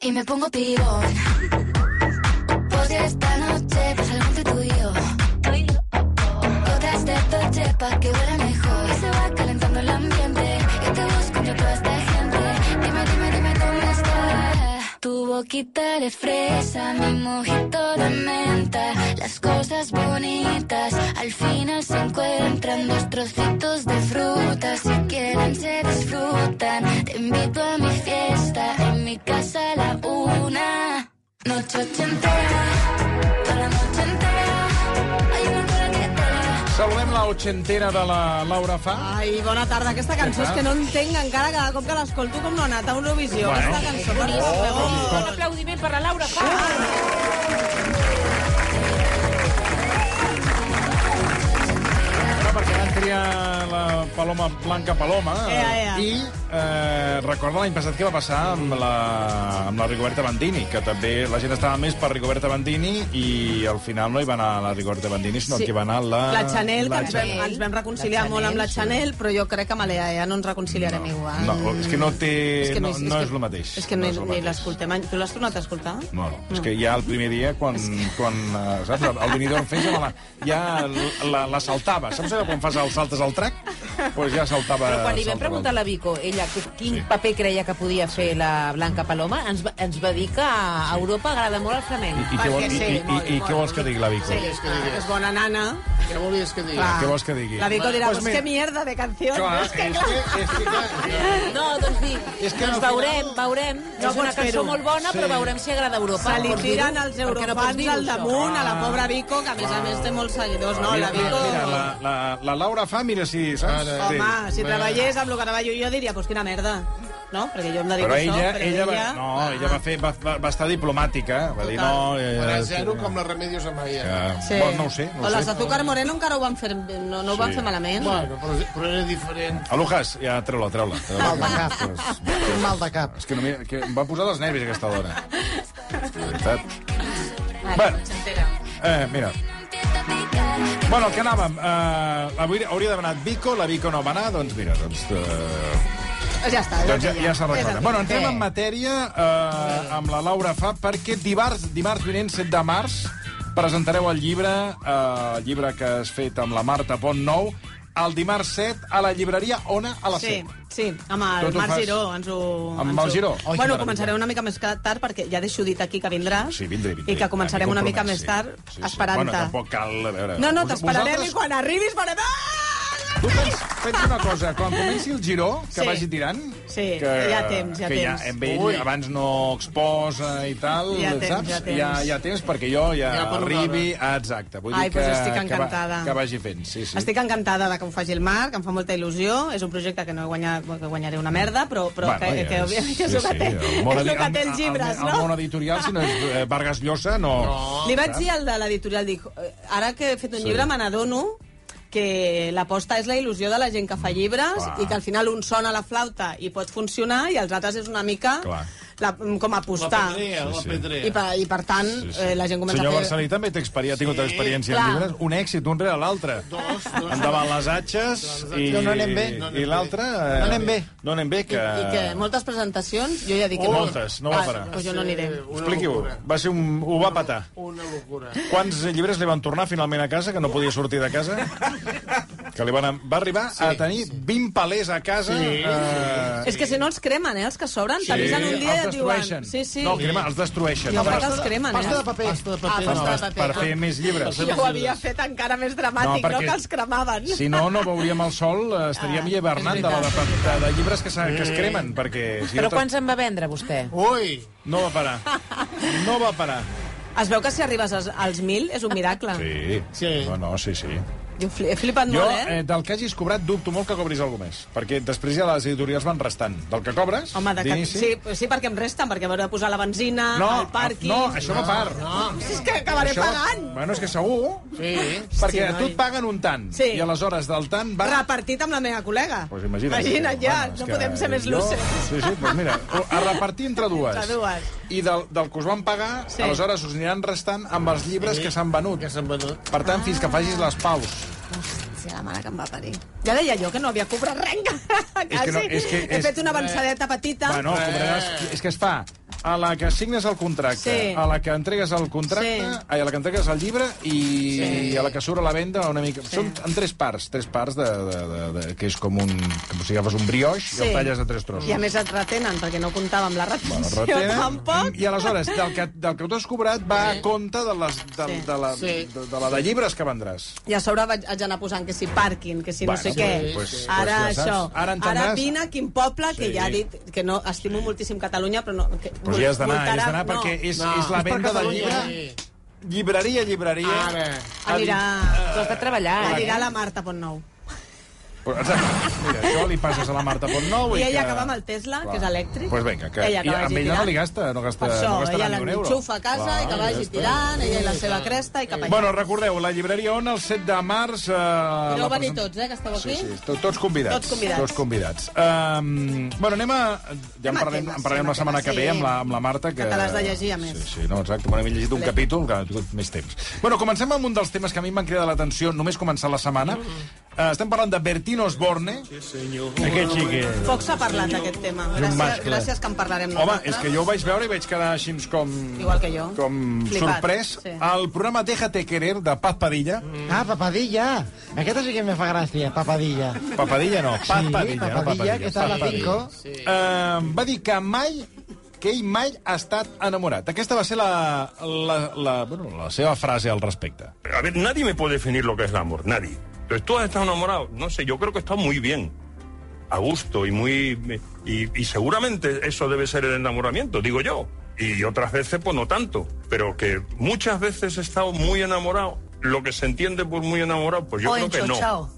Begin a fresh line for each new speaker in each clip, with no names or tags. y me pongo pibón. Podría esta noche pasar algo entre tú y yo. Otras de Dolce pa' que huela mejor. Se va calentando el ambiente. Yo te busco entre toda esta gente. Dime, dime, dime dónde está. Tu boquita de fresa, mi mojito de menta. Las cosas bonitas al final se encuentran. Dos trocitos de fruta, si quieren se disfrutan. Te invito a mi fiesta, en mi casa a la una. Noche entera, toda la noche entera. Hay una cola que te da.
Saludem la ochentera de la Laura Fa.
Ai, bona tarda. Aquesta cançó és que no entenc encara cada cop que l'escolto com no ha anat a Eurovisió.
Bueno. Oh.
Aquesta cançó, per favor. Oh.
Oh,
Ah.
Un aplaudiment per la Laura Paz.
Bueno, perquè van triar la Paloma Blanca Paloma.
Ea, ea.
I eh, recorda l'any passat que va passar amb la, amb la Rigoberta Bandini, que també la gent estava més per Rigoberta Bandini i al final no hi va anar la Rigoberta Bandini, sinó
Sí.
que Doncs va anar la...
La Chanel, que
la
ens vam, ens vam reconciliar molt amb la Chanel, però jo crec que amb l'EA ja no ens reconciliarem igual.
No, és que no té... no, no és, el mateix.
És que
No
ni,
és el
ni
mateix.
l'escoltem. Tu l'has tornat a escoltar?
No, no, és que ja el primer dia, quan, quan eh, saps, el Benidorm fes, ja la, ja la, la saltava. Saps allò quan fas el saltes al trac? Doncs pues ja saltava...
Però quan li vam
saltava
preguntar a
el-
la Vico, ella, que, quin
Sí.
paper creia que podia fer la Blanca Paloma, ens, va- ens va dir que a Europa agrada molt el flamenc.
I, què, vol, i,
Sí,
i, i,
molt,
i què vols que digui la Vico?
Sí, clar, Ah, és bona nana.
Què volies que digui?
Clar.
Què vols que digui?
La Vico dirà,
Pues
pues,
mira-
que mierda de canció.
Clar, eh, és que, és que, clar,
No, doncs dir,
És que
doncs
al
veurem, veurem.
No
és una
pots
cançó
fer-ho.
molt bona, però
Sí.
veurem si agrada a Europa.
Se li
Pots
tiren
dir-ho,
els
perquè no
eurofans
pots dir-ho,
al
això.
damunt, a la pobra Vico, que a més a més té molts seguidors. No,
mira,
la Vico...
mira, la, la, la Laura fa, mira si... Saps?
Ara.
Sí.
Home, si
Bueno.
treballés amb el que treballo jo, diria, pues quina merda. No? Perquè jo em dedico
Però
a això,
ella,
però Ah.
ella, va, no, ella va, fer, va, va, va estar diplomàtica. Va dir, no... Eh,
Farà zero com la Remedios Amaya.
Eh, Bueno, no ho sé, no
o
ho
les
sé.
Azúcar Moreno encara ho van fer, no, no ho van
Sí.
fer malament.
Bueno, però, però era diferent.
Alujas, ja treu-la, treu-la. Treu
Mal de cap. Té un mal de cap.
És que, no, mira, que em va posar dels nervis aquesta dona. De veritat.
doncs
Bueno, eh, mira.
Empieza a picar.
Bueno, el que anàvem. Eh, avui hauria d'haver anat Vico, la Vico no va anar, doncs mira, doncs... Eh,
Ja està.
doncs ja, ja s'ha
És
arreglat.
el-
Bueno, entrem
Sí.
en matèria eh, amb la Laura Fa, perquè dimarts, dimarts vinent, 7 de març, presentareu el llibre, eh, el llibre que has fet amb la Marta Pont Nou, el dimarts 7 a la llibreria Ona a la
Sí,
7.
sí, amb el
Tot ho
Marc
fas-
Giró. Ens ho,
Amb
ens
el
ho-
Giró? Ai,
que
bueno,
meravella.
començarem una mica més ca- tard, perquè ja deixo dit aquí que vindràs.
Sí, vindré, vindré.
I que començarem
M'hi
una mica
compromès,
més tard,
sí, sí.
esperant-te.
Bueno, tampoc cal... A veure,
No, no,
vos-
t'esperarem
vosaltres-
i quan arribis farem... "Ah!"
Tu pens, pensa una cosa, quan comenci el giró, que
Sí.
vagi tirant...
Sí,
que,
hi ha temps, hi ha
que
temps.
Ja, amb ell,
Ui.
abans no exposa i tal,
Hi ha temps,
saps?
hi ha temps.
Hi ha, hi ha temps perquè jo ja,
Ja per una
arribi... Ah, exacte, vull
Ai,
dir que,
doncs estic
que, va,
encantada.
que vagi fent. Sí, sí.
Estic encantada de que ho faci el Marc, em fa molta il·lusió. És un projecte que no he guanyat, que guanyaré una merda, però, però que, que, òbviament, que és el que té, és el que té els llibres,
el,
no?
El món editorial, si no és eh, Vargas Llosa, no... no.
Li vaig dir al de l'editorial, dic, "Eh, ara que he fet un llibre me n'adono que l'aposta és la il·lusió de la gent que fa llibres
Clar.
i que al final un sona la flauta i pot funcionar i els altres és una mica
Clar.
la, com
La
apostar.
pedrea, la pedrea.
I per, I per tant, sí, sí. Eh, la gent comença
Senyor
a fer...
Barcelí també té experiència, ha tingut experiència en
clar.
llibres, un èxit, un rere l'altre.
Dos, dos.
Endavant les atxes i,
No, no anem bé.
No anem
i
bé.
l'altre... eh,
No anem bé.
No anem bé,
I,
que...
I que moltes presentacions, jo ja dic... que
Oh, eh, moltes, no va
Ah,
parar.
Doncs jo no aniré.
Eh, Una
Expliqui-ho.
locura.
Va ser un... Ho va patar.
Una locura.
Quants llibres li van tornar finalment a casa, que no podia sortir de casa? Que li van... Va arribar a tenir 20 palers a casa.
Sí,
eh,
És que si no els cremen, eh, els que sobren, t'avisen un dia i
els
et diuen...
destrueixen.
Sí, sí.
No, crema, els destrueixen.
I els
Per,
els cremen,
Pasta de
eh?
paper.
Pasta de
Ah,
paper.
pasta de
per
paper.
fer més llibres.
Jo ho havia fet encara més dramàtic, no,
perquè-
que els cremaven.
Si no, no veuríem el sol, eh,
Ah,
estaríem hivernant de, la, de, de, de llibres que, s'ha- que es cremen, perquè... Si
Però
no,
quants en va vendre, vostè?
Ui!
No va parar. No va parar.
Es veu que si arribes als, als 1.000 és un miracle. Sí.
Sí.
Sí.
No, no, sí, sí.
Jo fli- he flipat
Jo,
molt, eh?
eh, del que hagis cobrat, dubto molt que cobris alguna més. Perquè després ja les editorials van restant. Del que cobres,
Home, de que...
d'inici...
sí, però sí, perquè em resten, perquè hauré de posar la benzina,
No,
el pàrquing...
no, això no, a part.
Si és que acabaré
Això-
pagant!
Bueno, és que segur,
Sí.
perquè a
noi.
tu et paguen un tant.
Sí.
I aleshores del tant va...
Repartit amb la meva col·lega.
Pues imagina't.
Imagina't ja,
és
no
que
podem ser més
jo-
lucers.
Sí, sí, doncs mira, a repartir entre dues.
Entre dues.
I del, del que us van pagar,
Sí.
sí. aleshores us aniran restant amb els llibres que s'han venut.
Que s'han venut.
Per tant,
Ah.
fins que facis les paus.
Hòstia, la mare que em va parir. Ja deia jo que no havia cobrat res,
que
quasi.
no, és que
He
és-
fet una avançadeta petita.
Eh.
Bueno, cobraràs... És que es fa a la que signes el contracte,
Sí.
a la que entregues el contracte,
Sí.
ai, a la que entregues el llibre i, i a la que surt a la venda una mica... Són en tres parts, tres parts de, de, de, de, que és com un... Com si agafes un brioix sí. i el talles a tres trossos.
I a més et retenen, perquè no comptava amb la
Bueno,
retenció
retenen,
tampoc.
I aleshores, del que, del que tu has cobrat va a compte de, les, de,
Sí.
de, la,
Sí.
de, de la de llibres que vendràs.
I a sobre vaig, haig d'anar posant que si pàrquing, que si no sé
Bueno,
què.
pues- pues
Ara
ja saps.
això.
Ara entendràs.
Ara vine a quin poble, que
Sí.
ja he dit que no, estimo moltíssim Catalunya, però no... Que,
Però hi has d'anar, hi has
multarà-
d'anar, perquè és,
No.
és la
És per
venda del llibre.
Catalunya,
Llibreria, llibreria.
Ara.
Anirà,
Tu has de treballar, eh?
anirà la Marta Pontnou.
Però, exacte, Mira, això li passes a la Marta Pontnou.
I ella que va amb el Tesla, que és elèctric.
Pues vinga, que,
Ella que
i
vagi
amb ella no
tirant.
li gasta, no gasta,
Per això,
no gastarà
ella
ni un euro.
l'enxufa a casa i que vagi tirant, ella i la seva cresta i cap allà.
Bueno, recordeu, la llibreria on el 7 de març... Eh,
Podeu
la
venir
present-
tots, eh, que esteu
Sí,
aquí.
sí, to- tots convidats.
Tots convidats.
Tots convidats. Um, bueno, anem a... Ja en
Anem a
parlem,
temes,
en parlem
anem
la
a
setmana
temes,
que ve
sí.
amb la, amb la Marta. Que,
Que te l'has de llegir, a més.
Sí, sí, no, exacte. Bueno, hem llegit un capítol que ha tingut més temps. Bueno, comencem amb un dels temes que a mi m'han cridat l'atenció només començar la setmana.
Mm.
Uh, estem parlant de Bertino Osborne.
Aquest sí que...
Poc s'ha parlat d'aquest tema. Gràcies,
mascle.
gràcies que en parlarem
Home,
nosaltres.
és que jo ho vaig veure i vaig quedar així com...
Igual que jo.
Com
Flipat,
sorprès.
sí.
El programa Déjate Querer, de Paz Padilla.
Ah, papadilla. Aquesta sí que me fa gràcia, papadilla.
Papadilla no, Paz
Sí,
Padilla. no,
Papadilla, que està a la
Papadilla.
Cinco.
Sí. Eh, va dir que mai que ell mai ha estat enamorat. Aquesta va ser la, la, la, bueno, la seva frase al respecte.
A ver, nadie me puede definir lo que es el amor, nadie. Entonces, tú has estado enamorado, no sé, yo creo que está muy bien, a gusto y muy. Y, y seguramente eso debe ser el enamoramiento, digo yo. Y otras veces, pues no tanto, pero que muchas veces he estado muy enamorado. Lo que se entiende por muy enamorado, pues yo
O
creo que no.
enxotxau.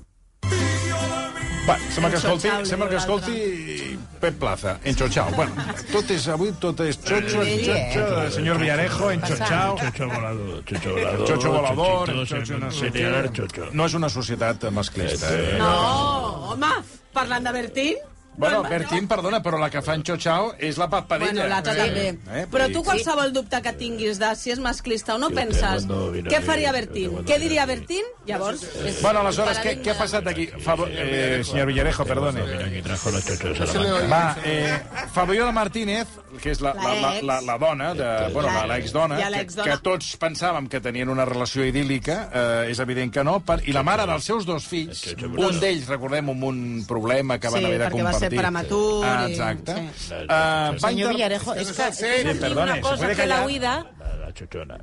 Va, sembla que escolti,
Enxotxau, li
sembla que
diu l'altre.
escolti Pep Plaza, enxotxau. Bueno, tot és, avui tot és xotxo,
eh?
enxotxo, senyor Villarejo, enxotxau.
Chocho volador, chocho volador.
Chocho volador,
chochito,
chocho no sé
sería dar chocho.
què. No és una societat masclista, eh?
No, home, parlant de Bertín...
Bueno,
no,
Bertín, perdona, però la que fa enxotxau és la Paz Padilla.
Bueno, l'altre
Eh,
també.
eh,
Però
vull
tu
dir-
qualsevol dubte que tinguis de si és masclista o no,
Yo te
penses
mando vinagre,
què faria
yo te
Bertín?
mando
Què diria
vinagre.
Bertín? Llavors... és
Bueno, aleshores, què,
paradigma.
què ha passat aquí? Favor, eh, senyor Villarejo, perdone.
Mira, aquí trajo los chochos a la
Se le
banca.
oye.
Va, eh, Fabiola Martínez, que és la, la, la, la, la dona, de, bueno, la, la exdona, que,
Ja l'exdona.
que tots pensàvem que tenien una relació idíl·lica, eh, és evident que no, per, i la mare dels seus dos fills, un d'ells, recordem, amb un problema que van
Sí,
haver de
perquè va ser
compartir.
prematur
Ah,
i-
exacte.
sí.
Eh, va,
Senyor
inter
Villarejo, és que...
Sí,
és que
perdone,
una
se
cosa
puede
que la
callar.
oïda...
La, la chochona.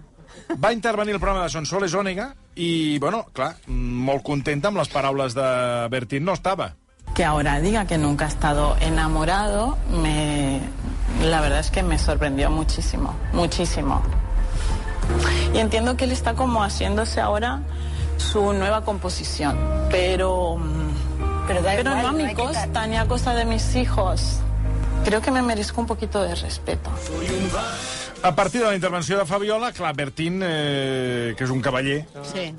va intervenir el programa de Sonsoles Ònega i, bueno, clar, molt contenta amb les paraules de Bertín. No estava.
que ahora diga que nunca ha estado enamorado, me, la verdad es que me sorprendió muchísimo, muchísimo. Y entiendo que él está como haciéndose ahora su nueva composición, pero, mm, pero, no a mi costa, ni a costa de mis hijos. Creo que me merezco un poquito de respeto.
A partir de la intervenció de Fabiola, clar, Bertín, eh, que és un cavaller,
Sí.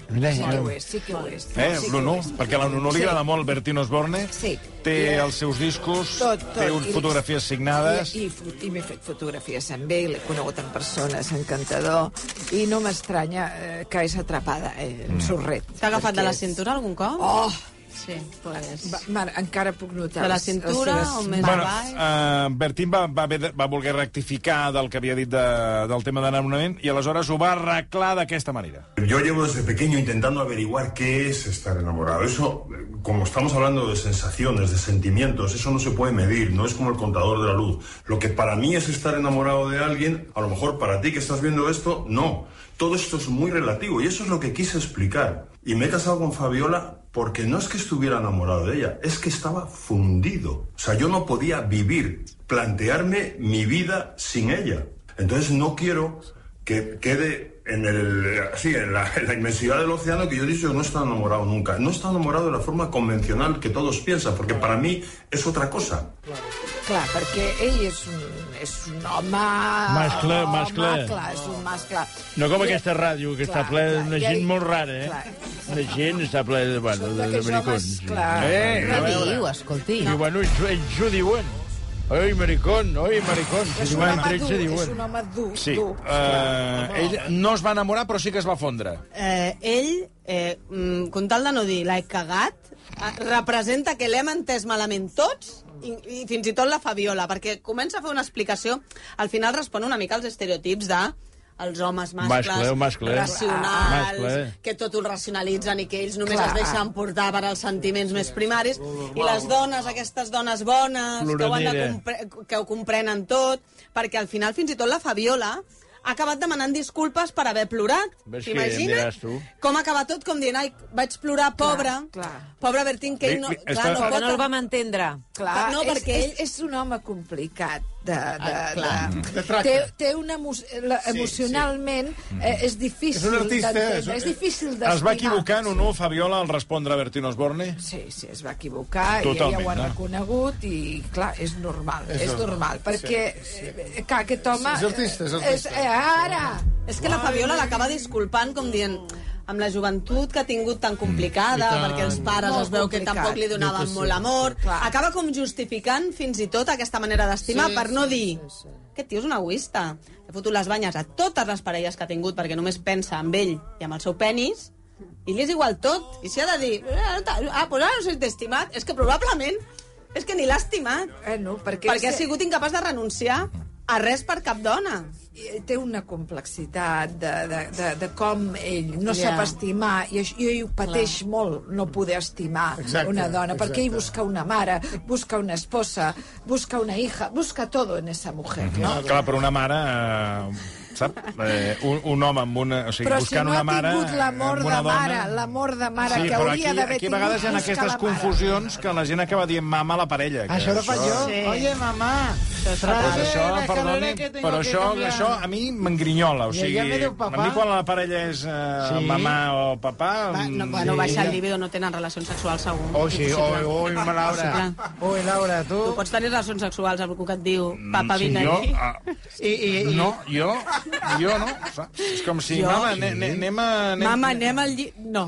Sí que ho és.
Eh, l'Uno, perquè a l'Uno li agrada molt Bertín Osborne.
Sí. eh,
Té els seus discos,
Tot, tot.
té un,
I-
fotografies signades...
I, i, fo- i m'he fet fotografies amb ell, l'he conegut en persona, és encantador, i no m'estranya eh, que és atrapada, eh,
Mm.
en sorret.
T'ha agafat de la
Perquè és-
cintura algun cop?
Oh!
Sí, pues...
Va, mare, encara puc notar...
De la
les- les
cintura
seves
o més
Bueno,
avall?
eh, Bertín va, va, haver de, va voler rectificar del que havia dit de, del tema d'enamorament i aleshores ho va arreglar d'aquesta manera.
Yo llevo desde pequeño intentando averiguar qué es estar enamorado. Eso, eh, como estamos hablando de sensaciones, de sentimientos, eso no se puede medir, no es como el contador de la luz. Lo que para mí es estar enamorado de alguien, a lo mejor para ti que estás viendo esto, no. Todo esto es muy relativo y eso es lo que quise explicar. Y me he casado con Fabiola porque no es que estuviera enamorado de ella, es que estaba fundido. O sea, yo no podía vivir, plantearme mi vida sin ella. Entonces no quiero que quede en, el, así, en, la, en la inmensidad del océano que yo he dicho que no está enamorado nunca. No está enamorado de la forma convencional que todos piensan, porque para mí es otra cosa.
Clar, perquè ell és un, és un home...
Mascle,
home,
mascle.
Clar, és un mascle.
No com aquesta ràdio, que està
Clar,
ple
clar,
d'una
ja
gent
hi-
molt rara, eh?
clar.
Una gent està ple de, bueno,
Són
de, de
d'aquells homes,
maricons.
clar.
Eh, a
Què
veure.
diu, escolti?
I bueno, ells, ells ho diuen. Oi, maricón, oi, maricón. Si
És un
diuen
home
entre ells,
dur,
se
és
diuen.
un home dur,
Sí.
dur.
Eh, ell no es va enamorar, però sí que es va fondre.
Eh, ell, eh, mm, com tal de no dir l'he cagat, eh, representa que l'hem entès malament tots i, i fins i tot la Fabiola, perquè comença a fer una explicació, al final respon una mica als estereotips de els homes mascles,
Mascle, mascle.
racionals,
Mascle.
que tot ho racionalitzen i que ells només
Clar.
es deixen portar per als sentiments més primaris, i les dones, aquestes dones bones, que ho, han de
Ploranera.
compre que ho comprenen tot, perquè al final fins i tot la Fabiola ha acabat demanant disculpes per haver plorat.
Ves que em diràs
T'imagines?
tu.
Com acaba tot, com dient, ai, vaig plorar, pobre,
clar.
pobre Bertín, que ell no...
Li- li-
Clar,
està-
no
Que no el
pot...
vam entendre.
Clar,
Ah, No,
no, és,
perquè
perquè...
ell-
és, és un home complicat. De, de,
Ah,
de,
clar.
De tracte.
té, té una emo la,
Sí,
emocionalment eh, és difícil
És un artista,
d'entendre,
és un-
és difícil d'estimar.
Es va equivocar en o no, Fabiola, al respondre a Bertino Osborne?
Sí, sí, es va equivocar i
Totalment,
ella ho ha
no?
reconegut i, clar, és normal, és, és normal, perquè, sí, sí. clar, aquest home...
És artista, és artista.
És, eh, ara!
És que la Fabiola l'acaba disculpant com dient amb la joventut que ha tingut tan complicada,
I tant.
perquè els pares
Molt
es veu que
complicat.
tampoc li donaven molt amor.
Clar.
Acaba com justificant fins i tot aquesta manera d'estimar per no dir... Aquest tio és un egoista. He fotut les banyes a totes les parelles que ha tingut perquè només pensa en ell i amb el seu penis i li és igual tot. I si ha de dir... "Ah, no t'ha- Ah, doncs ara no s'és estimat. És que probablement... És que ni l'ha estimat.
Eh, no, perquè,
Perquè ha
és-
sigut incapaç de renunciar a res per cap dona.
eh, té una complexitat de, de, de, de com ell no
Ja.
yeah. sap estimar i, això- i ell ho pateix Clar. molt no poder estimar
Exacte,
una dona perquè ell
exacte.
busca una mare, busca una esposa, busca una hija, busca todo en esa mujer. No?
No, clar, però una mare... Eh, sap? Eh, un, un home amb una... O sigui,
Però si
buscant
no ha
una mare...
tingut l'amor
amb
de
una dona...
mare, l'amor de mare
sí,
que
però
hauria
aquí,
d'haver
aquí a
tingut,
vegades hi ha
busca
aquestes
la mare.
confusions que la gent acaba dient mama a la parella. Que
Això no faig jo.
Sí.
Oye, mamà,
Però
trae
això,
la
perdoni,
escalera que tengo
però
que
això,
cambiar.
això a mi m'engrinyola. O
I
sigui,
ella me diu
a
papà.
mi quan la parella és eh,
Sí.
mamà o papà...
Va, no,
mm,
bueno,
Sí.
baixar el líbido, no tenen relacions sexuals, segur.
Oh, sí, oh, oh, Laura.
Clar.
Ui, Laura, tu...
Tu pots tenir relacions sexuals amb algú que et diu papa,
sí,
vine
jo,
aquí.
ah,
I, i, i...
no, jo, jo no. saps? És com si,
Jo?
mama, ne, ne, anem a... anem-
Mama, anem al lli... No.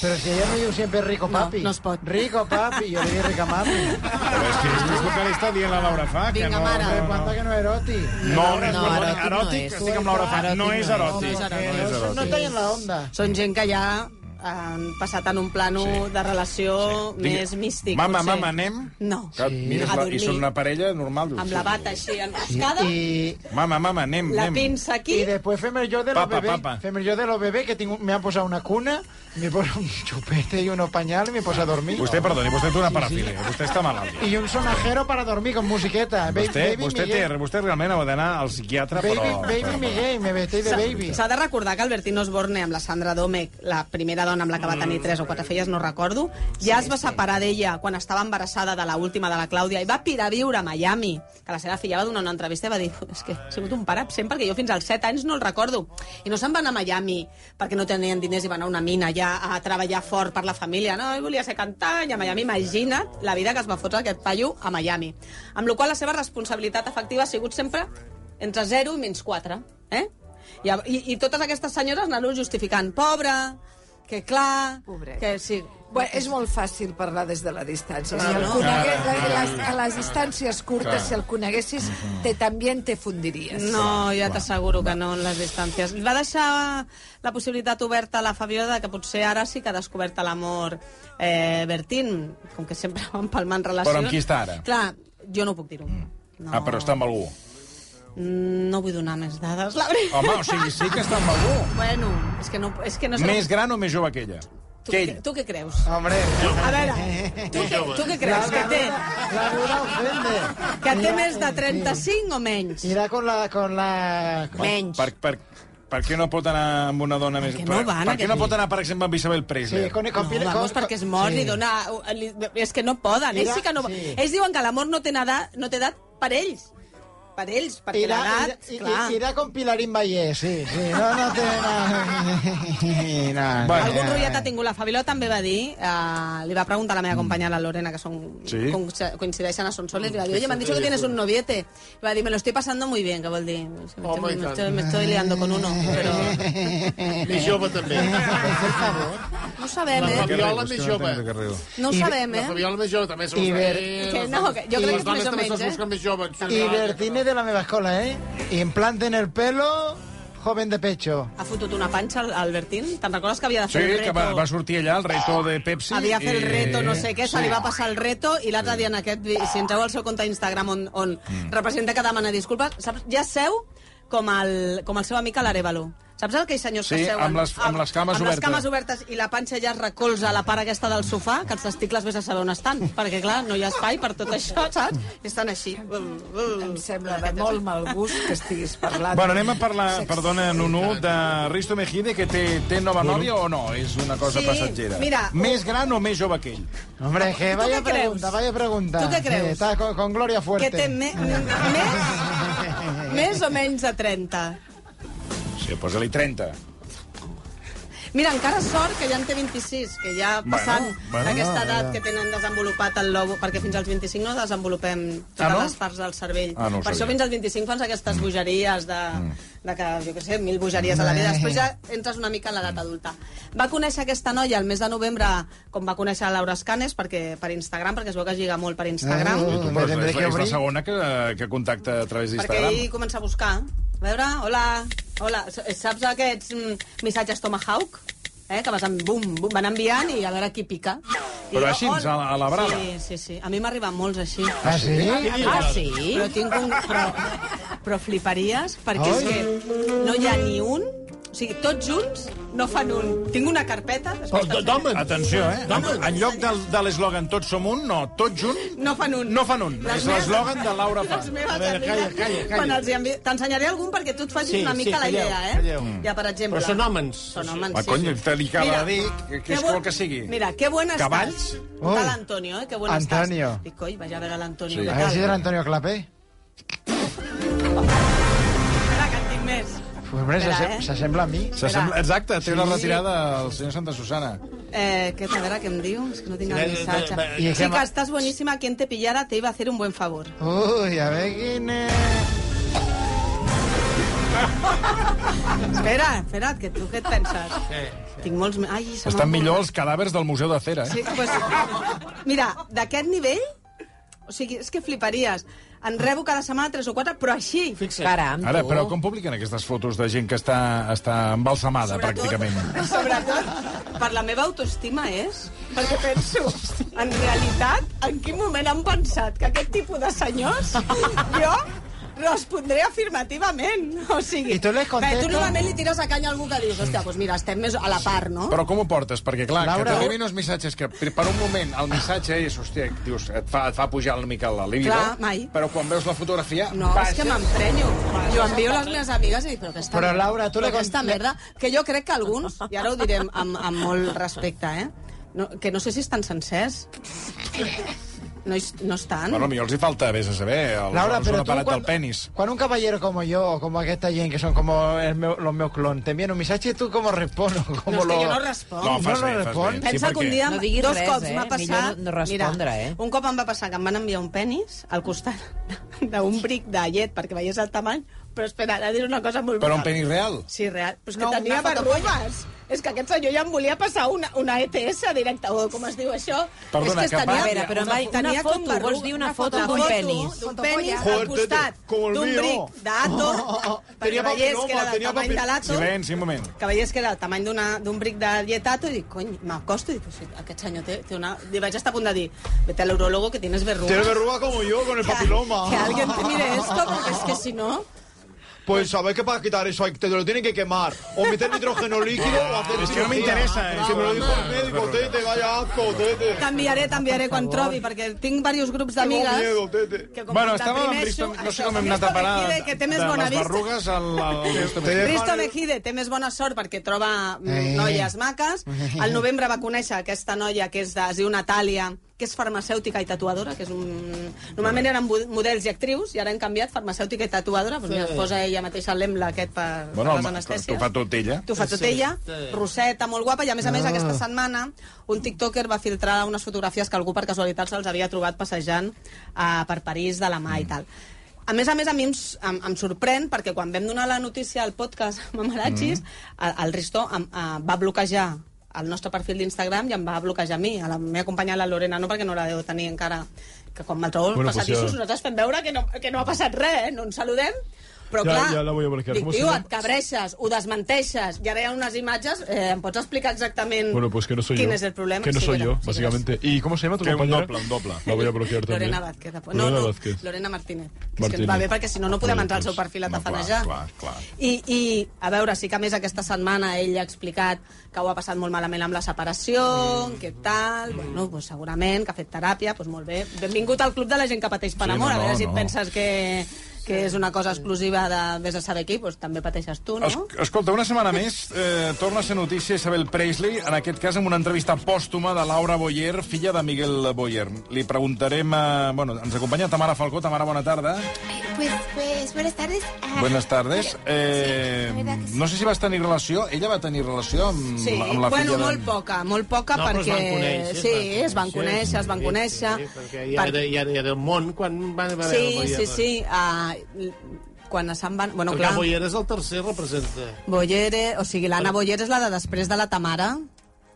Però si ella no diu sempre rico papi.
no es pot.
Rico papi, jo li dic rica mami.
Però és que és el que li està dient la Laura Fa, que
Vinga,
no...
mare.
no-
Però quanta que no eroti.
No, no,
No,
perdoni,
eròtic no
eròtic,
és.
estic amb Laura Fa, no és eròtic.
No, no
No
és
és
No, no
eròtic.
tallen la onda.
Són gent que ja han passat en un plano
Sí.
de relació
Digui,
més místic.
Mama,
potser.
mama, anem?
No.
Que et mires
A
la,
dormir.
I són una parella normal. dius,
Amb
sí,
la
sí.
bata així enroscada,
I,
Mama, mama, anem,
la
anem.
pinça aquí...
I després fem el jo de los
Papa,
bebés.
papa.
Fem el jo de los bebés, que tinc, un- me han posat una cuna, me posa un chupete y unos pañales y me posa a dormir.
Vostè, perdoni, vostè té una parafília, vostè està malalt.
Y un sonajero para dormir con musiqueta. Ba-
Vostè,
baby
vostè, té,
Miguel.
vostè realment ha d'anar al psiquiatre,
Baby,
però...
baby Miguel, me vestí de baby.
S'ha de recordar que Albertín Osborne amb la Sandra Domecq, la primera dona amb la que va tenir tres o quatre filles, no recordo, ja es va separar d'ella quan estava embarassada de la última de la Clàudia i va pirar a viure a Miami, que la seva filla va donar una entrevista i va dir és que he sigut un pare absent perquè jo fins als set anys no el recordo. I no se'n va anar a Miami perquè no tenien diners i va anar a una mina ja a treballar fort per la família. No, ell volia ser cantant i a Miami, imagina't la vida que es va fotre aquest paio a Miami. Amb la qual cosa la seva responsabilitat efectiva ha sigut sempre entre 0 i menys 4. Eh? I, a- i, i totes aquestes senyores anar-ho justificant. Pobre, que clar...
Pobret.
Que sí.
Bueno, és molt fàcil parlar des de la distància. Si el
no?
conegués, a les, a les distàncies curtes, si el coneguessis, te, també te fundiries.
No, ja t'asseguro que no en les distàncies. Va deixar la possibilitat oberta a la Fabiola de que potser ara sí que ha descobert l'amor eh, Bertín, com que sempre van palmant relacions.
Però amb qui està ara?
Clar, jo no ho puc dir-ho. No,
Ah, però està amb algú.
Mm, no vull donar més dades, la veritat.
Home, o sigui, sí que està amb algú.
Bueno, és que no, és que no sé...
Més gran o més jove que ella?
tu,
Que
què,
ell.
tu què creus?
Hombre,
A veure, tu, què, tu què creus? Que té,
la duda ofende.
que té més de 35 o menys?
Irá con la... Con la
Menys.
Per, per, per què no pot anar amb una dona més...
Perquè no van,
per què no
aquest-
pot anar, per exemple, amb Isabel Presley?
sí, con, con,
No, vamos, perquè es mor, li dona... Li, és que no poden, ells sí que no...
Sí.
Ells diuen que l'amor no té edat, no té edat per ells. Per ells, perquè
Irá,
l'edat...
irá-
clar.
irá con Pilarín Valle, sí, sí. No, no te... No, no,
Bueno.
Algun rotllet ha tingut. La Fabiola també va dir, eh, li va preguntar a la meva companya, la Lorena, que són,
Mm. Sí.
con- coincideixen a Son Soles, li va dir, oye, me han dicho que tienes un noviete. I va dir, me lo estoy pasando muy bien, que vol dir, me
Oh,
Home,
estoy,
i
me
tant.
estoy, me estoy liando con uno, però...
Més jove, també.
No ho sabem,
La
eh?
Fabiola més jove.
No ho sabem,
La
eh?
Fabiola més jove també.
I ver-
Que no, que jo crec que és
les dones
més o
també
menys,
se'ls
eh?
busquen més joves.
Y Bertine de la meva escola, ¿eh? Implanten el pelo, joven de pecho.
Ha fotut una panxa al Albertín? Te'n recordes que havia de
Sí,
fer el reto?
que va, va sortir allà el reto de Pepsi.
Havia de fer el
i-
reto, no sé què, se
Sí.
li va passar el reto i l'altre dia en aquest... vi- Si entreu al seu compte d'Instagram on, on
Mm.
representa que demana disculpes, saps? ja seu com el, com el seu amic a l'Arevalo. Saps el que els senyors
Sí,
que seuen?
amb les- amb les cames
amb
obertes.
les cames obertes i la panxa ja es recolza a la part aquesta del sofà, que els testicles vés a saber on estan, perquè, clar, no hi ha espai per tot això, saps? I estan així. Em
sembla de molt mal gust que estiguis parlant.
Bueno, anem a parlar, perdona, Nunu, de Risto Mejide, que té, té nova nòvia o no? És una cosa
Sí,
passatgera.
mira,
més gran o més jove que ell?
Hombre, que
¿Tú
vaya
qué crees?
pregunta, vaya pregunta.
¿Tú qué crees?
Eh, Está con, con Gloria
Que
Fuerte.
té me, més, més o menys de 30.
Sí, posa-li 30.
Eh,
Mira, encara sort que ja en té 26, que ja
Bueno,
passant
bueno,
aquesta
no,
edat
ja.
que tenen desenvolupat el lobo, perquè fins als 25 no desenvolupem totes
Ah, no?
les parts del cervell.
Ah, no ho
per
sabia. Mm.
això fins als 25 fas aquestes bogeries de, de que, jo què sé, mil bogeries a la vida. Després ja entres una mica en l'edat adulta. Va conèixer aquesta noia el mes de novembre, com va conèixer Laura Escanes, perquè per Instagram, perquè es veu que es lliga molt per Instagram.
Sí, tu,
me
però és,
tendré
és,
que
és la
obrir.
segona que, que contacta a través
Perquè
d'Instagram.
ahir comença a buscar. A veure, hola, hola. Saps aquests mm, missatges Tomahawk? Eh, que vas amb, bum, bum, van enviant i a veure qui pica. I
Però
jo,
així, a
hola.
la- a la brava.
Sí, sí, sí. A mi m'arriben molts així.
Ah, sí?
Ah, sí?
Però, tinc un, però, però fliparies, perquè
Ai.
és que no hi ha ni un... O sigui, tots junts no fan un. Tinc una carpeta...
Oh,
després te'ls enviaré.
Atenció, eh? En, en lloc del, de l'eslògan tots som un, no, tots junts,
No fan un.
no fan un.
Les
És
meves-
l'eslògan de Laura Fa.
Les meves
veure,
amigues,
calla, calla, calla.
quan els hi envi- T'ensenyaré algun perquè tu et facis
Sí,
una mica
sí,
la
calleu,
idea, eh?
calleu.
Ja, per exemple...
Però són hòmens.
Són hòmens,
Va,
sí,
cony,
sí.
te li acaba
Mira,
de dir que- que és
bon-
vol que sigui.
Mira, que buen estàs.
Cavalls?
Ui.
Tal Antonio, eh? Que buen
Antonio.
estàs. Dic, coi, vaja a veure
Sí.
l'Antonio. què
A ver
tal?
si era Antonio Clapé.
Espera, que en tinc més.
Pues, hombre,
Espera,
s'assem-
eh?
s'assembla a mi.
S'assembla- Exacte, té una
Sí.
retirada al senyor Santa Susana.
Eh, que, a veure, què em diu? És que no tinc
Eh, eh,
el
eh,
missatge.
eh,
eh,
Chica, estás buenísima. Quien te pillara te iba a hacer un buen favor.
Uy, a ver quién es.
Espera, espera't, que tu què et penses? Tinc molts... me- Ai, se m'ha
Estan millor
borrat.
els cadàvers del Museu de Cera, eh?
Sí, pues, mira, d'aquest nivell, o sigui, és que fliparies. En rebo cada setmana tres o quatre, però així.
Caram,
Ara,
tu.
però
Oh.
com publiquen aquestes fotos de gent que està, està embalsamada, pràcticament?
Sobretot, per la meva autoestima és, perquè penso, en realitat, en quin moment han pensat que aquest tipus de senyors jo respondré afirmativament. O sigui,
I tu les contestes?
Bé, tu normalment li tires a canya a algú que dius, hòstia, doncs mira, estem més a la part, no?
Però com ho portes? Perquè, clar,
Laura, oh.
que t'arribin uns missatges que per per un moment el missatge és, hòstia, dius, et fa, et fa pujar una mica la libido,
Clar, mai.
però quan veus la fotografia...
No, és que m'emprenyo. Jo envio les meves amigues i dic, però aquesta,
Però, Laura, tu
però
li con-
aquesta merda... Que jo crec que alguns, i ara ho direm amb, amb molt respecte, eh? No, que no sé si estan sencers. No, hi- no estan.
Bueno, millor els hi falta, vés a saber, el,
Laura,
Laura,
pero
un
tú,
aparat
cuando,
del penis.
cuando un caballero como yo, o como aquesta gent que son como el meu- los meus clones, te envían un mensaje y tú como respondo.
No,
Como
és que
lo...
jo no responc.
No, fas
no
bé, fas
respon.
bé.
Pensa
sí,
que un
perquè-
dia,
No diguis
dos
res,
cops
eh?
m'ha
Millor
passat...
no- no respondre, eh?
Un cop em va passar que em van enviar un penis al costat d'un bric de llet perquè veiés el tamany, però espera, ara diré una cosa molt
Però un
brutal.
penis real.
Sí, real. Però és que
No,
no, tenia
una fotocòpia.
barrugues. És que aquest senyor ja em volia passar una, una ETS directa, o com es diu això.
Perdona,
és que,
que
es tenia,
va-
A veure, però una- una
tenia com
foto, vols
barrugues.
dir una foto
La
d'un
foto
penis?
D'un penis
Joder,
al costat
com el
d'un
mío. Oh,
bric d'Ato, perquè
Tenia
veiés que
papiloma,
era del
tenia
tamany
papil-
de l'Ato
Silenci, un moment.
que veiés que era el tamany d'una- d'un bric de lletat i dic, cony, m'acosto i dic, "Sí, aquest senyor té, té una... I vaig estar a punt de dir, vete al urologo que tienes verrugas.
Tiene verruga como yo con el papiloma.
Que alguien te mire esto, porque es que si no...
Pues sabes que para quitar eso hay- te lo tienen que quemar. O meter nitrógeno líquido o hacer.
Es que no me
cirugía.
interesa, eh.
Que me lo dijo el médico, tete, vaya asco, tete.
T'enviaré, t'enviaré quan trobi, perquè tinc diversos grups d'amigues...
miedo, tete.
que com
Bueno,
que
estàvem amb
deprimeixo,
Risto... No sé
això,
com hem
amb
anat a
Risto
parar
Mejide, que té més
de
bona
les
vista.
barrugues al... al
Te
Risto Mejide.
dejo-
Risto Mejide té més bona sort perquè troba mm,
Eh.
noies maques. Al novembre va conèixer aquesta noia que és de, es diu Natàlia, que és farmacèutica i tatuadora, que és un... Normalment eren bu- models i actrius, i ara han canviat farmacèutica i tatuadora. Doncs mira, es posa ella mateixa l'emble aquest per,
Bueno,
per les
home,
anestèsies.
t'ho fa tot ella.
T'ho fa tot ella. Roseta, molt guapa. I a més a més, aquesta setmana, un tiktoker va filtrar unes fotografies que algú per casualitat se'ls havia trobat passejant eh, per París de la mà i tal. A més a més, a mi em, s- em, em sorprèn perquè quan vam donar la notícia al podcast Mamarachis, mm. el Risto em, eh, va bloquejar el nostre perfil d'Instagram i em va bloquejar a mi, a la meva companya la Lorena no, perquè no la deu tenir encara que quan me'l trobo bueno, passadissos, nosaltres fem veure que no, que no ha passat res, eh? no ens saludem Però
Ya-
clar,
ya la voy a bloquear.
dic,
¿Cómo se
tio,
llama?
et cabreixes, ho desmenteixes, i ara hi ha unes imatges, eh, em pots explicar exactament
Bueno, pues que no soy
quin
yo.
és el problema?
Que no
Sí,
soy yo,
verás, sí,
básicamente. ¿Y cómo se llama tu
Que un
compañera?
dopla, un dopla.
La voy a bloquear
verás.
también.
Lorena Vázquez. a poc.
Lorena
no, no,
Vázquez.
Lorena Martínez. Que és que
Martínez.
va bé perquè si no, no podem entrar al seu perfil a
No, clar,
tafanejar.
clar, clar.
I, I, a veure, sí que a més aquesta setmana ell ha explicat que ho ha passat molt malament amb la separació, mm. què tal, bueno, pues segurament que ha fet teràpia, doncs molt bé. Benvingut al club de la gent que pateix per
Sí,
sí, amor,
no,
a veure
no,
si et
no.
penses que, que és una cosa exclusiva de vés a saber qui, doncs també pateixes tu, no?
Es- Escolta, una setmana més eh, torna a ser notícia Isabel Presley, en aquest cas amb una entrevista pòstuma de Laura Boyer, filla de Miguel Boyer. Li preguntarem... A... Bueno, ens acompanya Tamara Falcó. Tamara, bona tarda.
Ah.
Pues, pues buenas tardes. Ah,
Buenas tardes. Eh,
la verdad que sí.
no sé si vas tenir relació... Ella va tenir relació amb,
Sí,
amb la
bueno,
filla
molt
de...
poca, molt poca
No, però es
perquè...
van conèixer, es
sí,
van
es van conèixer, es van conèixer.
Sí, perquè ja era, ja era, ja era el món quan va haver
Sí, sí, sí. ah, quan a Sant Van... Bueno,
Perquè
clar,
el Boyer és el tercer representa.
Boyer, eh, o sigui, l'Anna Boyer és la de després de la Tamara,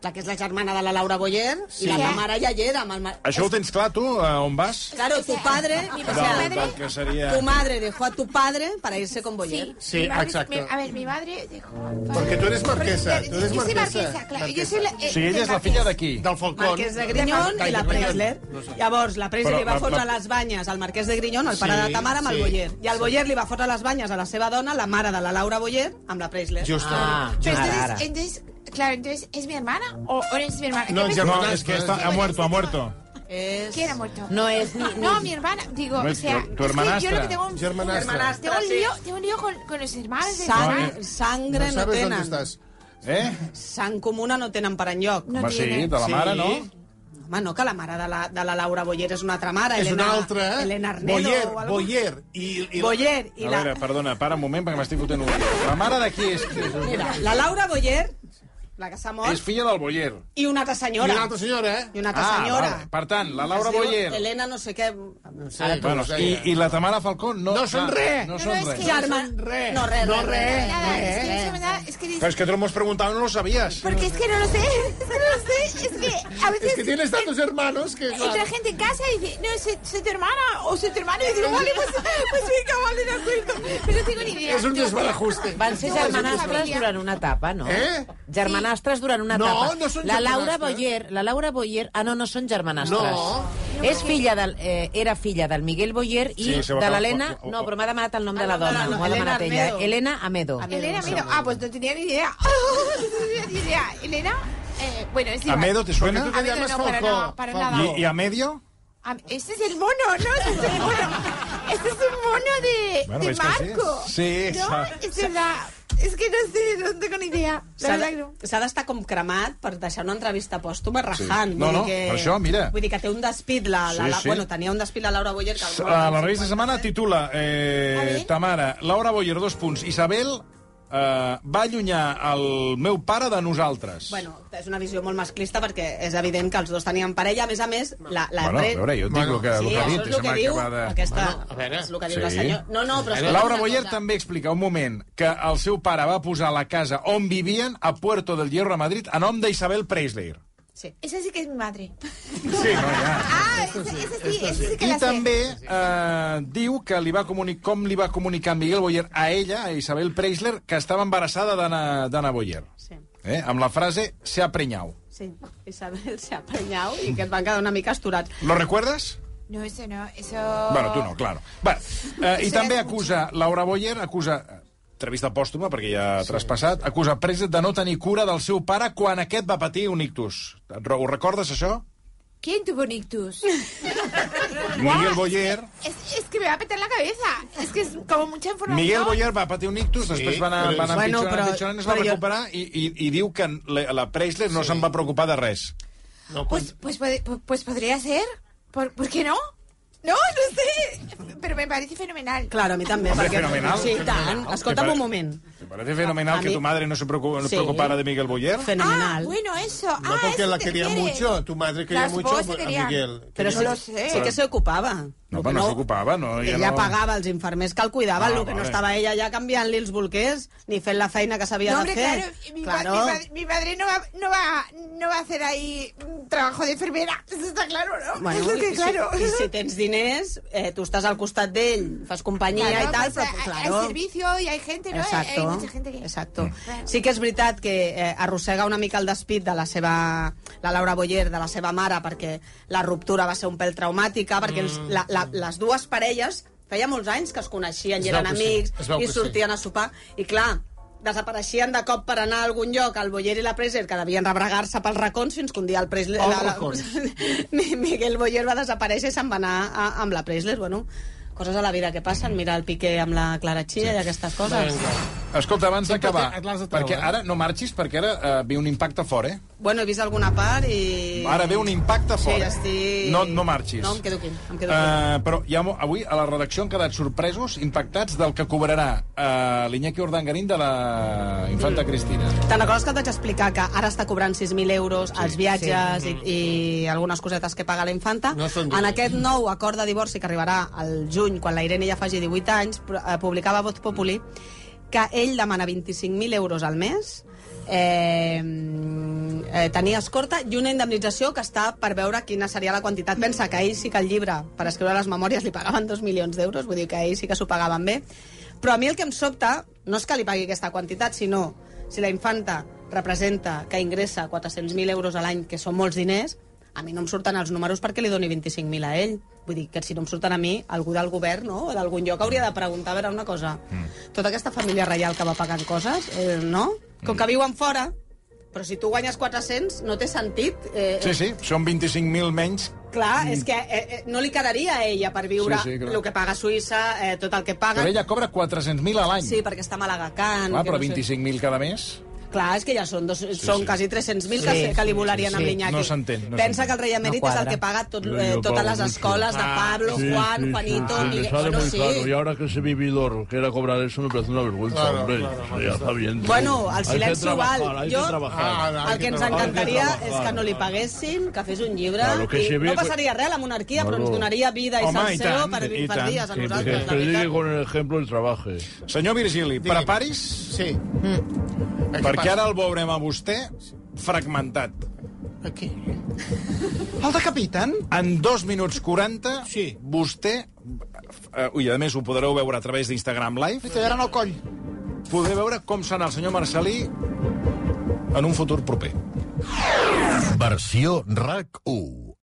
la que és la germana de la Laura Boyer,
Sí.
i la
Sí.
Tamara ja hi era. Amb el... ma-
Això ho tens clar, tu, a on vas?
Claro, tu padre, o
Del,
sea,
del que seria...
tu madre dejó a tu padre para irse con Boyer.
Sí,
mi madre-
exacto.
mi- a ver, mi madre dejó.
Perquè tu eres marquesa. Tu eres
Yo soy
marquesa.
marquesa, claro. Yo soy la, eh,
O sigui, ella
de
és la
Marqués.
filla d'aquí.
Del Falcón.
Marquès de Grinyón i la Preisler. Llavors, la Preisler
Però
li va
la-
fotre
la-
les banyes al marquès de Grinyón, el
Sí,
pare de la Tamara, amb el
sí.
Boyer. I el Boyer li va fotre les banyes a la seva dona, la mare de la Laura Boyer, amb la Preisler. Ah.
Justament.
Pero
Ah, Ara,
entonces,
ara.
entonces, claro, entonces, ¿es mi hermana o, o es mi hermana?
No,
¿Qué me-
ya-
No, és que està, ha muerto, ha muerto.
És...
¿Quién ha muerto?
No es
Ah,
ni...
No, mi hermana. Digo,
No
o
es
sea,
tu-
es
tu
que yo lo
hermanastra.
que tengo un,
Germanastra.
tengo un lío, tengo un lío con, con los hermanos. de mi
Sang,
hermana.
sangre
No
no,
sabes on
tenen.
estàs.
Eh?
Sang comuna no tenen per enlloc.
No
Home, sí,
tiene.
de la
Sí.
mare, no?
Home, no, que la mare de la, de la Laura Boyer és una altra mare.
És
Elena,
una altra, eh?
Elena Arnedo
Boyer,
o algo.
Boyer. I, i
Boyer i
A
la...
veure, perdona, para un moment, perquè m'estic fotent un lío. La mare d'aquí és...
Mira, la Laura Boyer, la que s'ha
És
mort,
filla del Boyer. Ah,
i una altra
I
senyora.
una altra senyora, eh?
I una altra senyora.
vale. Per tant, la
Es
Laura
diu
Boyer...
Elena no sé què...
No sé,
Bueno,
no sé.
i, I la Tamara Falcón no...
No són res.
No
No,
són
no, és
res.
que-
Germà...
res.
No, res,
No,
res,
res.
Nada, es que no sé nada, es que
Però és que tu m'ho has preguntat, no ho sabies.
Porque es que no lo sé, es que no lo sé, es que a veces...
Es que tienes tantos hermanos que... clar.
Entra gente en casa y dice, no, soy, soy tu hermana o soy tu hermano. Y digo, vale, pues, pues venga, vale, de acuerdo. Pero no tengo ni idea.
És un desbarajuste.
Van ser
No,
germanastres
família.
durant una etapa, no?
Eh?
Germanastres durant una
No,
etapa.
no són
la Laura
germanastres.
Boyer, la Laura Boyer... Ah, no, no són germanastres.
No.
És filla del, eh, era filla del Miguel Boyer i
Sí, se va
de
acabar-
l'Helena...
o- o-
No, però m'ha demanat el nom de la
Ah, no,
dona.
no, no,
M'ho ha
Elena
demanat ella.
Armedo.
Elena Amedo.
Elena, mira, ah, pues no tenía ni idea. no tenía ni idea. Elena, eh, bueno, es igual.
Amedo, ¿te suena?
Porque tú te
Amedo
llamas
no, para
Falcó.
nada, para
Falcó.
nada.
I, I a medio?
Am- Este es el mono, ¿no? Este es el mono. Este es un mono de,
Bueno,
de
¿ves que sí?
Marco.
Sí,
¿No?
exacto.
Es verdad. Es que no sé, no tengo ni idea. La
S'ha
verdad que
de-
no.
s'ha d'estar com cremat per deixar una entrevista pòstuma
Sí.
rajant. Sí.
No, no, per això, mira.
Vull dir que té un despit la... la,
Sí,
la
sí.
Bueno, tenia un despit la Laura Boyer. Que
La, la revista Setmana titula eh, Tamara, Laura Boyer, dos punts. Isabel eh, va allunyar el meu pare de nosaltres.
Bueno, és una visió molt masclista perquè és evident que els dos tenien parella. A més a més, la, la
bueno a
pre-
veure, jo et dic el que,
Sí,
el que ha
això
dit.
és el que diu aquesta...
Bueno, a veure.
és el que diu la
Sí.
senyora. No, no, però... escolta
Laura
una
Boyer
cosa.
també explica un moment que el seu pare va posar la casa on vivien a Puerto del Hierro a Madrid a nom d'Isabel Preisler.
Sí.
Esa sí que es mi madre.
Sí, no, ja.
Ah, esa, esa sí, esa sí que
I
la sé.
també eh, diu que li va comuni- com li va comunicar Miguel Boyer a ella, a Isabel Preisler, que estava embarassada d'Anna d'Anna Boyer.
Sí.
Eh? Amb la frase, se ha prenyau.
Sí, Isabel se ha prenyau i que et van quedar una mica esturats.
Lo recuerdas?
No, eso no, eso...
Bueno, tu no, claro. Bueno, eh, I
Eso
també
ja és
acusa, Laura Boyer acusa eh, entrevista pòstuma, perquè ja ha traspassat, acusa Preset de no tenir cura del seu pare quan aquest va patir un ictus. Et re- Ho recordes, això?
¿Quién tuvo un ictus?
Miguel Boyer...
Es, es que me va a petar la cabeza. Es que es como mucha información.
Miguel Boyer va patir un ictus, després va anar,
però-
va anar
Bueno,
empitjorant,
però-
empitjorant, es va
però jo-
recuperar i, i, i diu que la, la Preisler no se'n va preocupar de res.
No, quan-
Pues, pues, pod- pues, podría ser. ¿Por, por qué no? No, no sé. Pero me parece fenomenal.
Claro, a mi també.
Home, fenomenal.
Sí, i tant. Escolta'm un moment.
Me parece fenomenal
A
que
mí-
tu madre no se preocu- no
Sí.
preocupara de Miguel Boyer.
Fenomenal.
Ah, bueno, eso.
No
ah,
porque
eso
la
te
quería
quiere.
mucho, tu madre quería
La
mucho
esposa
a
quería.
Miguel.
Però
Quería-
sí, sí que se ocupava.
No, però no, s'ocupava, no?
Ella,
no...
pagava els infermers que el cuidaven,
Ah,
el que no
vale.
estava ella ja canviant-li els bolquers ni fent la feina que s'havia
No,
de
hombre,
fer.
claro, mi, pa- mi pa- mi padre no va, no, va, no va a hacer ahí mm, trabajo de enfermera, eso está claro, ¿no?
Bueno,
Eso que
i,
claro.
si, i si tens diners, eh, tu estàs al costat d'ell, fas companyia
Claro,
i tal,
pues,
però,
hay-
claro...
Hay servicio y hay gente, ¿no? Hay- Hay
Exacto.
mucha gente que...
Exacto. Sí que és veritat que eh, arrossega una mica el despit de la seva... la Laura Boyer, de la seva mare, perquè la ruptura va ser un pèl traumàtica, perquè
Mm.
els, la, la, les dues parelles feia molts anys que es coneixien
Es
i eren
veu que sí,
amics
es veu que
i
sí.
sortien a sopar. I clar, desapareixien de cop per anar a algun lloc el Boyer i la Preser, que devien rebregar-se pels racons fins que un dia el Presley...
Pels
la- la-
racons.
Mi- Miguel Boyer va desaparèixer i se'n va anar a, amb la Presley. Bueno, coses a la vida que passen. Mira el Piqué amb la Clara Chía sí. i aquestes coses.
Escolta, abans d'acabar,
te- l'has de treure,
perquè
eh?
ara no marxis, perquè ara eh, ve un impacte fort, eh?
Bueno, he vist alguna part i...
Ara ve un impacte
Sí,
fort. eh?
estic...
No- no marxis.
No, em quedo aquí. Em quedo aquí.
Uh, però ja, mo- avui a la redacció han quedat sorpresos, impactats del que cobrarà uh, l'Iñaki Ordangarín de la infanta Cristina.
Te'n recordes que et vaig explicar que ara està cobrant 6.000 euros sí, els viatges
sí.
sí. i, i algunes cosetes que paga la infanta?
No són
en
diners.
aquest nou acord de divorci que arribarà al juny, quan la Irene ja faci 18 anys, pr- eh, publicava Voz Populi que ell demana 25.000 euros al mes eh, eh, tenir escorta i una indemnització que està per veure quina seria la quantitat. Pensa que ahir sí que el llibre per escriure les memòries li pagaven 2 milions d'euros, vull dir que ahir sí que s'ho pagaven bé. Però a mi el que em sobta no és que li pagui aquesta quantitat, sinó si la infanta representa que ingressa 400.000 euros a l'any, que són molts diners, a mi no em surten els números perquè li doni 25.000 a ell. Vull dir que si no em surten a mi, algú del govern no? o d'algun lloc hauria de preguntar, a veure, una cosa, mm. tota aquesta família reial que va pagant coses, eh, no?
Mm.
Com que viuen fora, però si tu guanyes 400, no té sentit... Eh,
Sí, sí, són 25.000 menys.
Clar, és que eh, eh, no li quedaria a ella per viure
Sí, sí, clar.
el que paga Suïssa, eh, tot el que paga...
Però ella cobra 400.000 a l'any.
Sí, perquè està malagacant...
Clar,
que
però
no sé.
25.000 cada mes...
Clar, és que ja són, dos, sí, són
sí.
quasi 300.000 que,
Sí,
que li
sí,
volarien
sí, sí.
amb l'Iñaki.
No s'entén, no s'entén.
Pensa que el rei emèrit
No
és el
quadra.
que paga tot,
Yo
eh,
lo
totes
pago
les
mucho.
escoles de Pablo, Juan,
Ah, sí,
Juanito,
sí,
Miguel...
Le sale
Bueno,
muy
sí.
caro. Y ahora que ese vividor, que era cobrar eso, me parece una vergüenza,
Claro,
hombre.
claro,
Eso ya está bien.
Bueno,
Hay
el
que
silenci ho
trabajar,
val.
Ah, hay que
Jo,
trabajar.
el que ens encantaria és que no li paguessin, que fes un llibre...
Claro, que
i
se ve-
no passaria res, la monarquia, però
Claro.
ens donaria vida i
Home, i
salseo
tant,
per,
i
per
tant.
dies a
Que-
nosaltres.
Que predique con el ejemplo y trabaje.
Senyor Virgili, preparis... Sí. Mm. Perquè ara el veurem a vostè fragmentat.
Aquí.
El decapiten? En 2 minuts 40, sí. vostè... Eh, ui, a més, ho podreu veure a través d'Instagram Live.
Te daran el coll.
Podré veure com serà el senyor Marcelí en un futur proper.
Versió RAC 1.